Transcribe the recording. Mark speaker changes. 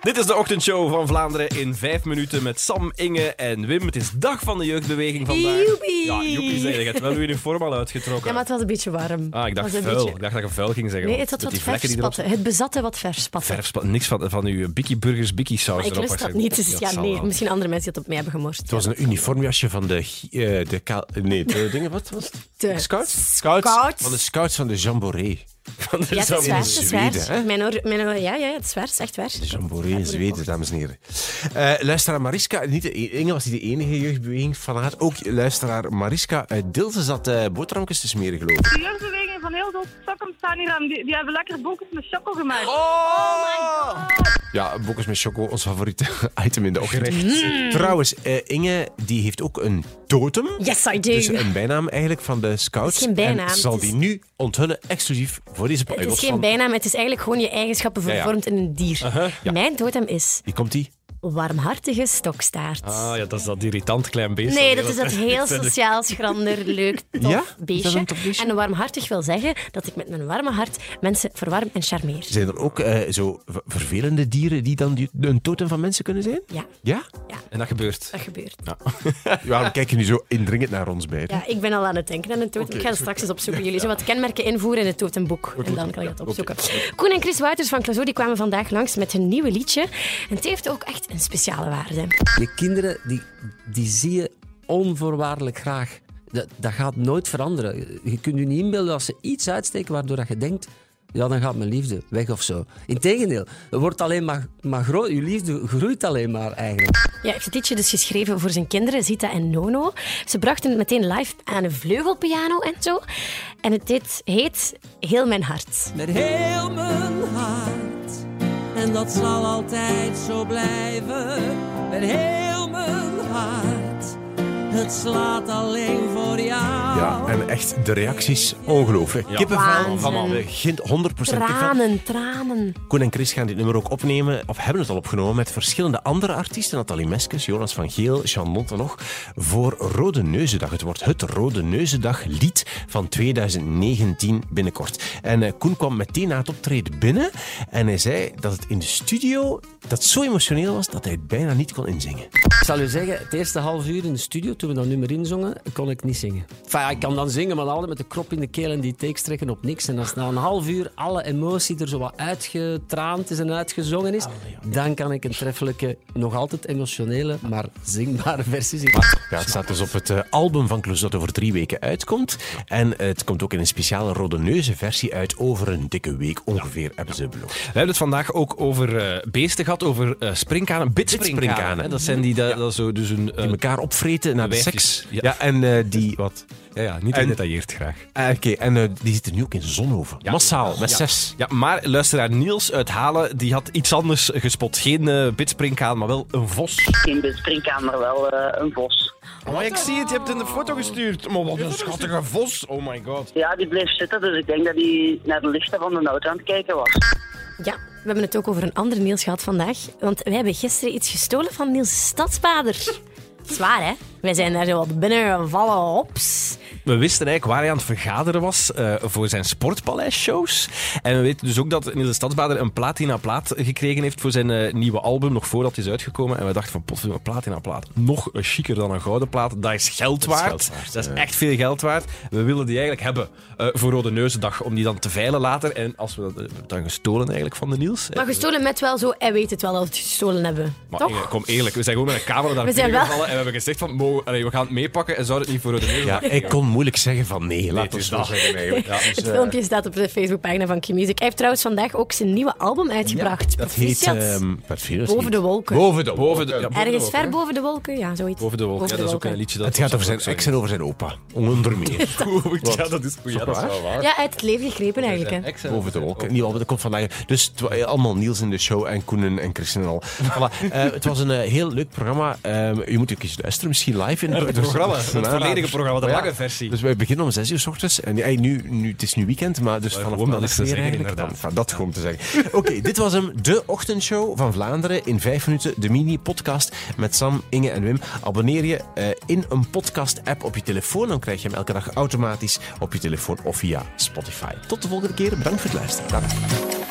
Speaker 1: Dit is de ochtendshow van Vlaanderen in vijf minuten met Sam, Inge en Wim. Het is dag van de jeugdbeweging vandaag.
Speaker 2: Joepie.
Speaker 1: Ja, joepie zeg je. Je hebt wel weer uniform al uitgetrokken.
Speaker 2: Ja, maar het was een beetje warm.
Speaker 1: Ah, ik dacht
Speaker 2: Het was een
Speaker 1: vuil.
Speaker 2: beetje-
Speaker 1: Ik dacht dat je vuil ging zeggen.
Speaker 2: Nee,
Speaker 1: want
Speaker 2: het had
Speaker 1: met die
Speaker 2: wat
Speaker 1: vlekken die erop
Speaker 2: verfspatten. Het bezatte wat verfspatten.
Speaker 1: Verfspat, niks van, van uw Bikkie Burgers, Bikkie saus
Speaker 2: Maar ik
Speaker 1: erop.
Speaker 2: lust dat
Speaker 1: waarschijnlijk.
Speaker 2: niet, dus
Speaker 1: Dat
Speaker 2: ja,
Speaker 1: zal
Speaker 2: nee.
Speaker 1: wel.
Speaker 2: Misschien andere mensen die het op mij hebben gemorst.
Speaker 3: Het was een uniformjasje van de... gi- eh, de ka- nee, de dingen, wat was het?
Speaker 2: De
Speaker 3: Scouts?
Speaker 2: Scouts.
Speaker 3: Van de scouts van de Jamboree.
Speaker 1: Van de
Speaker 2: Ja, het is
Speaker 1: zomer.
Speaker 2: waar, het is
Speaker 3: Zweden,
Speaker 2: waar.
Speaker 3: hè?
Speaker 2: Mijn oor- mijn oor- ja, ja, het is waar, het is echt waar.
Speaker 3: De Jamboree in Zweden, dames en heren. Eh, luisteraar Mariska, niet de, e- Inge was niet de enige jeugdbeweging van haar. Ook luisteraar Mariska uit Dilsen zat eh boterhammetjes te smeren, geloof ik.
Speaker 4: De jeugdbeweging van heel veel Stockholm staan hier aan. Die, die hebben lekker boekjes met choco gemaakt.
Speaker 2: Oh
Speaker 3: Ja, bokkers met choco, ons favoriete item in de ochtend.
Speaker 2: Mm.
Speaker 3: Trouwens, eh, Inge die heeft ook een totem.
Speaker 2: Yes, I do.
Speaker 3: Dus een bijnaam eigenlijk van de scouts.
Speaker 2: Het is geen bijnaam,
Speaker 3: En zal
Speaker 2: het is-
Speaker 3: die nu onthullen, exclusief voor deze podcast.
Speaker 2: het is geen
Speaker 3: van-
Speaker 2: bijnaam, het is eigenlijk gewoon je eigenschappen
Speaker 3: ja.
Speaker 2: vervormd in een dier. Mijn totem is
Speaker 3: Hier komt die.
Speaker 2: warmhartige stokstaart.
Speaker 1: Ah ja, dat is dat irritant klein beest.
Speaker 2: Nee, dat is dat heel sociaal, schrander, leuk, tof
Speaker 3: Ja? Is dat
Speaker 2: beestje.
Speaker 3: een tof beestje?
Speaker 2: En warmhartig wil zeggen dat ik met mijn warme hart mensen verwarm en charmeer.
Speaker 3: Zijn er ook eh, zo v- vervelende dieren die dan die- een totem van mensen kunnen zijn?
Speaker 2: Ja,
Speaker 3: Ja?
Speaker 1: En dat gebeurt.
Speaker 2: dat gebeurt.
Speaker 3: Ja, we kijken nu zo indringend naar ons beiden.
Speaker 2: Ja, ik ben al aan het denken aan een totem. ik ga het straks eens opzoeken. Jullie zullen wat kenmerken invoeren in het totemboek. En dan kan ik dat opzoeken. Koen en Chris Wouters van Clazo die kwamen vandaag langs met hun nieuwe liedje. En het heeft ook echt een speciale waarde.
Speaker 5: Je kinderen, die, die zie je onvoorwaardelijk graag. Dat, dat gaat nooit veranderen. Je kunt je niet inbeelden als ze iets uitsteken waardoor dat je denkt... Ja, dan gaat mijn liefde weg of zo. Integendeel, het wordt alleen maar, maar groot. Je liefde groeit alleen maar eigenlijk.
Speaker 2: Ja, hij heeft het liedje dus geschreven voor zijn kinderen, Zita en Nono. Ze brachten het meteen live aan een vleugelpiano en zo. En het dit heet Heel Mijn Hart.
Speaker 5: Met heel mijn hart. En dat zal altijd zo blijven. Met heel mijn hart. Het slaat alleen voor jou.
Speaker 3: Ja, en echt de reacties ongelooflijk. Kippenvel
Speaker 2: Waanzin.
Speaker 3: van al. Geen 100% kippenvel.
Speaker 2: Tranen, tranen.
Speaker 3: Koen en Chris gaan dit nummer ook opnemen, of hebben het al opgenomen, met verschillende andere artiesten. Nathalie Meskes, Jonas van Geel, Jean Monte nog. Voor Rode Neuzendag. Het wordt het Rode Neuzendag lied van 2019 binnenkort. En eh, Koen kwam meteen na het optreden binnen en hij zei dat het in de studio dat zo emotioneel was dat hij het bijna niet kon inzingen.
Speaker 5: Ik zal u zeggen, het eerste half uur in de studio, toen we dat nummer inzongen, kon ik niet zingen. Enfin, ja, ik kan dan zingen, maar dan altijd met de krop in de keel en die tekst trekken op niks. En als na een half uur alle emotie er zo wat uitgetraand is en uitgezongen is, dan kan ik een treffelijke, nog altijd emotionele, maar zingbare versie zingen.
Speaker 3: Ja, het staat dus op het eh, album van Clouseau dat over drie weken uitkomt. En eh, het komt ook in een speciale Rode Neuzen versie uit over een dikke week ongeveer, hebben ze beloofd.
Speaker 1: We hebben het vandaag ook over eh, beesten gehad, over eh springkanen, bitspringkanen.
Speaker 3: Bitspringkanen.
Speaker 1: hè. Dat zijn die, dat, dat zo, dus een... eh,
Speaker 3: die elkaar opvreten naar de
Speaker 1: wijfjes.
Speaker 3: seks.
Speaker 1: Ja.
Speaker 3: en eh, die wat?
Speaker 1: ja, ja, niet
Speaker 3: En-
Speaker 1: gedetailleerd graag.
Speaker 3: Ah, Oké, en eh, die zitten nu ook in Zonhoven. Massaal, met
Speaker 1: Ja.
Speaker 3: zes.
Speaker 1: Ja, maar luisteraar Niels uit Halen, die had iets anders gespot. Geen eh bitspringkaan, maar wel een vos.
Speaker 6: in springkamer wel eh, een vos.
Speaker 1: Maar Oh, ik zie het, je hebt een foto gestuurd. Maar wat een schattige vos, oh my god.
Speaker 6: Ja, die bleef zitten, dus ik denk dat hij naar de lichten van de auto aan het kijken was.
Speaker 2: Ja, we hebben het ook over een ander Niels gehad vandaag. Want wij hebben gisteren iets gestolen van Niels' stadsvader. Zwaar, hè? Wij zijn daar zo wat binnen gevallen, ops.
Speaker 1: We wisten eigenlijk waar hij aan het vergaderen was eh, voor zijn sportpaleisshows. En we weten dus ook dat Niels de Stadsbader een platina-plaat gekregen heeft voor zijn eh, nieuwe album, nog voordat hij is uitgekomen. En we dachten van, potverdomme, platina-plaat, nog eh, chiquer dan een gouden plaat. Dat is geld waard. Dat is, echt veel geld waard. We willen die eigenlijk hebben eh, voor Rode Neuzendag, om die dan te veilen later. En als we dat, eh, dan gestolen eigenlijk van de Niels. hè.
Speaker 2: Maar gestolen met wel zo, hij weet het wel dat we het gestolen hebben.
Speaker 1: Maar
Speaker 2: Toch?
Speaker 1: Inge, kom eerlijk, we zijn gewoon met een camera daar
Speaker 2: We zijn
Speaker 1: binnen
Speaker 2: wel-
Speaker 1: gevallen en we hebben gezegd van, mogen- allee, we gaan het meepakken en zou het niet voor Rode Neuzendag
Speaker 3: Ja, ik kon moeilijk zeggen van nee, laat
Speaker 1: het is
Speaker 3: ons wel
Speaker 1: dat.
Speaker 3: zeggen. eigenlijk.
Speaker 2: Het
Speaker 1: eh,
Speaker 2: filmpje staat op de Facebookpagina van Q Music. Hij heeft trouwens vandaag ook zijn nieuwe album uitgebracht.
Speaker 3: Dat heet...
Speaker 2: Proficiat.
Speaker 3: ehm, wat viel het
Speaker 2: Boven
Speaker 3: niet?
Speaker 2: de wolken.
Speaker 3: Boven de wolken.
Speaker 1: eh, Boven de- ja, boven de
Speaker 2: Ergens
Speaker 1: wolken,
Speaker 2: ver
Speaker 1: hè?
Speaker 2: boven de wolken, ja, zoiets.
Speaker 1: Boven de wolk. ja, dat is ook een liedje dat
Speaker 3: Het gaat over zijn
Speaker 1: Sorry.
Speaker 3: ex en over zijn opa. Onder meer.
Speaker 1: Goed, ja, dat is goed. Ja, dat is wel waar.
Speaker 2: Ja, uit het leven gegrepen eigenlijk. Hè.
Speaker 3: Boven de wolken. Nieuw album, dat komt vandaag. Dus het wa- allemaal Niels in de show en Koenen en Christen en al. Voilà. Eh, het was een eh, heel leuk programma. Ehm, je moet ook eens luisteren, misschien live in
Speaker 1: Het programma, het
Speaker 3: Ja.
Speaker 1: volledige programma, de
Speaker 3: Maar ja,
Speaker 1: lange versie.
Speaker 3: Dus wij beginnen om 6 uur s ochtends. En ja, nu, nu, het is nu weekend, maar dus vanaf
Speaker 1: gewoon dat
Speaker 3: maandag
Speaker 1: eens te
Speaker 3: weer
Speaker 1: zeggen,
Speaker 3: eigenlijk.
Speaker 1: inderdaad.
Speaker 3: Dan- van dat gewoon te zeggen. Oké, dit was hem, de ochtendshow van Vlaanderen. In vijf minuten de mini-podcast met Sam, Inge en Wim. Abonneer je eh, in een podcast-app op je telefoon. Dan krijg je hem elke dag automatisch op je telefoon of via Spotify. Tot de volgende keer. Bedankt voor het luisteren. Dag.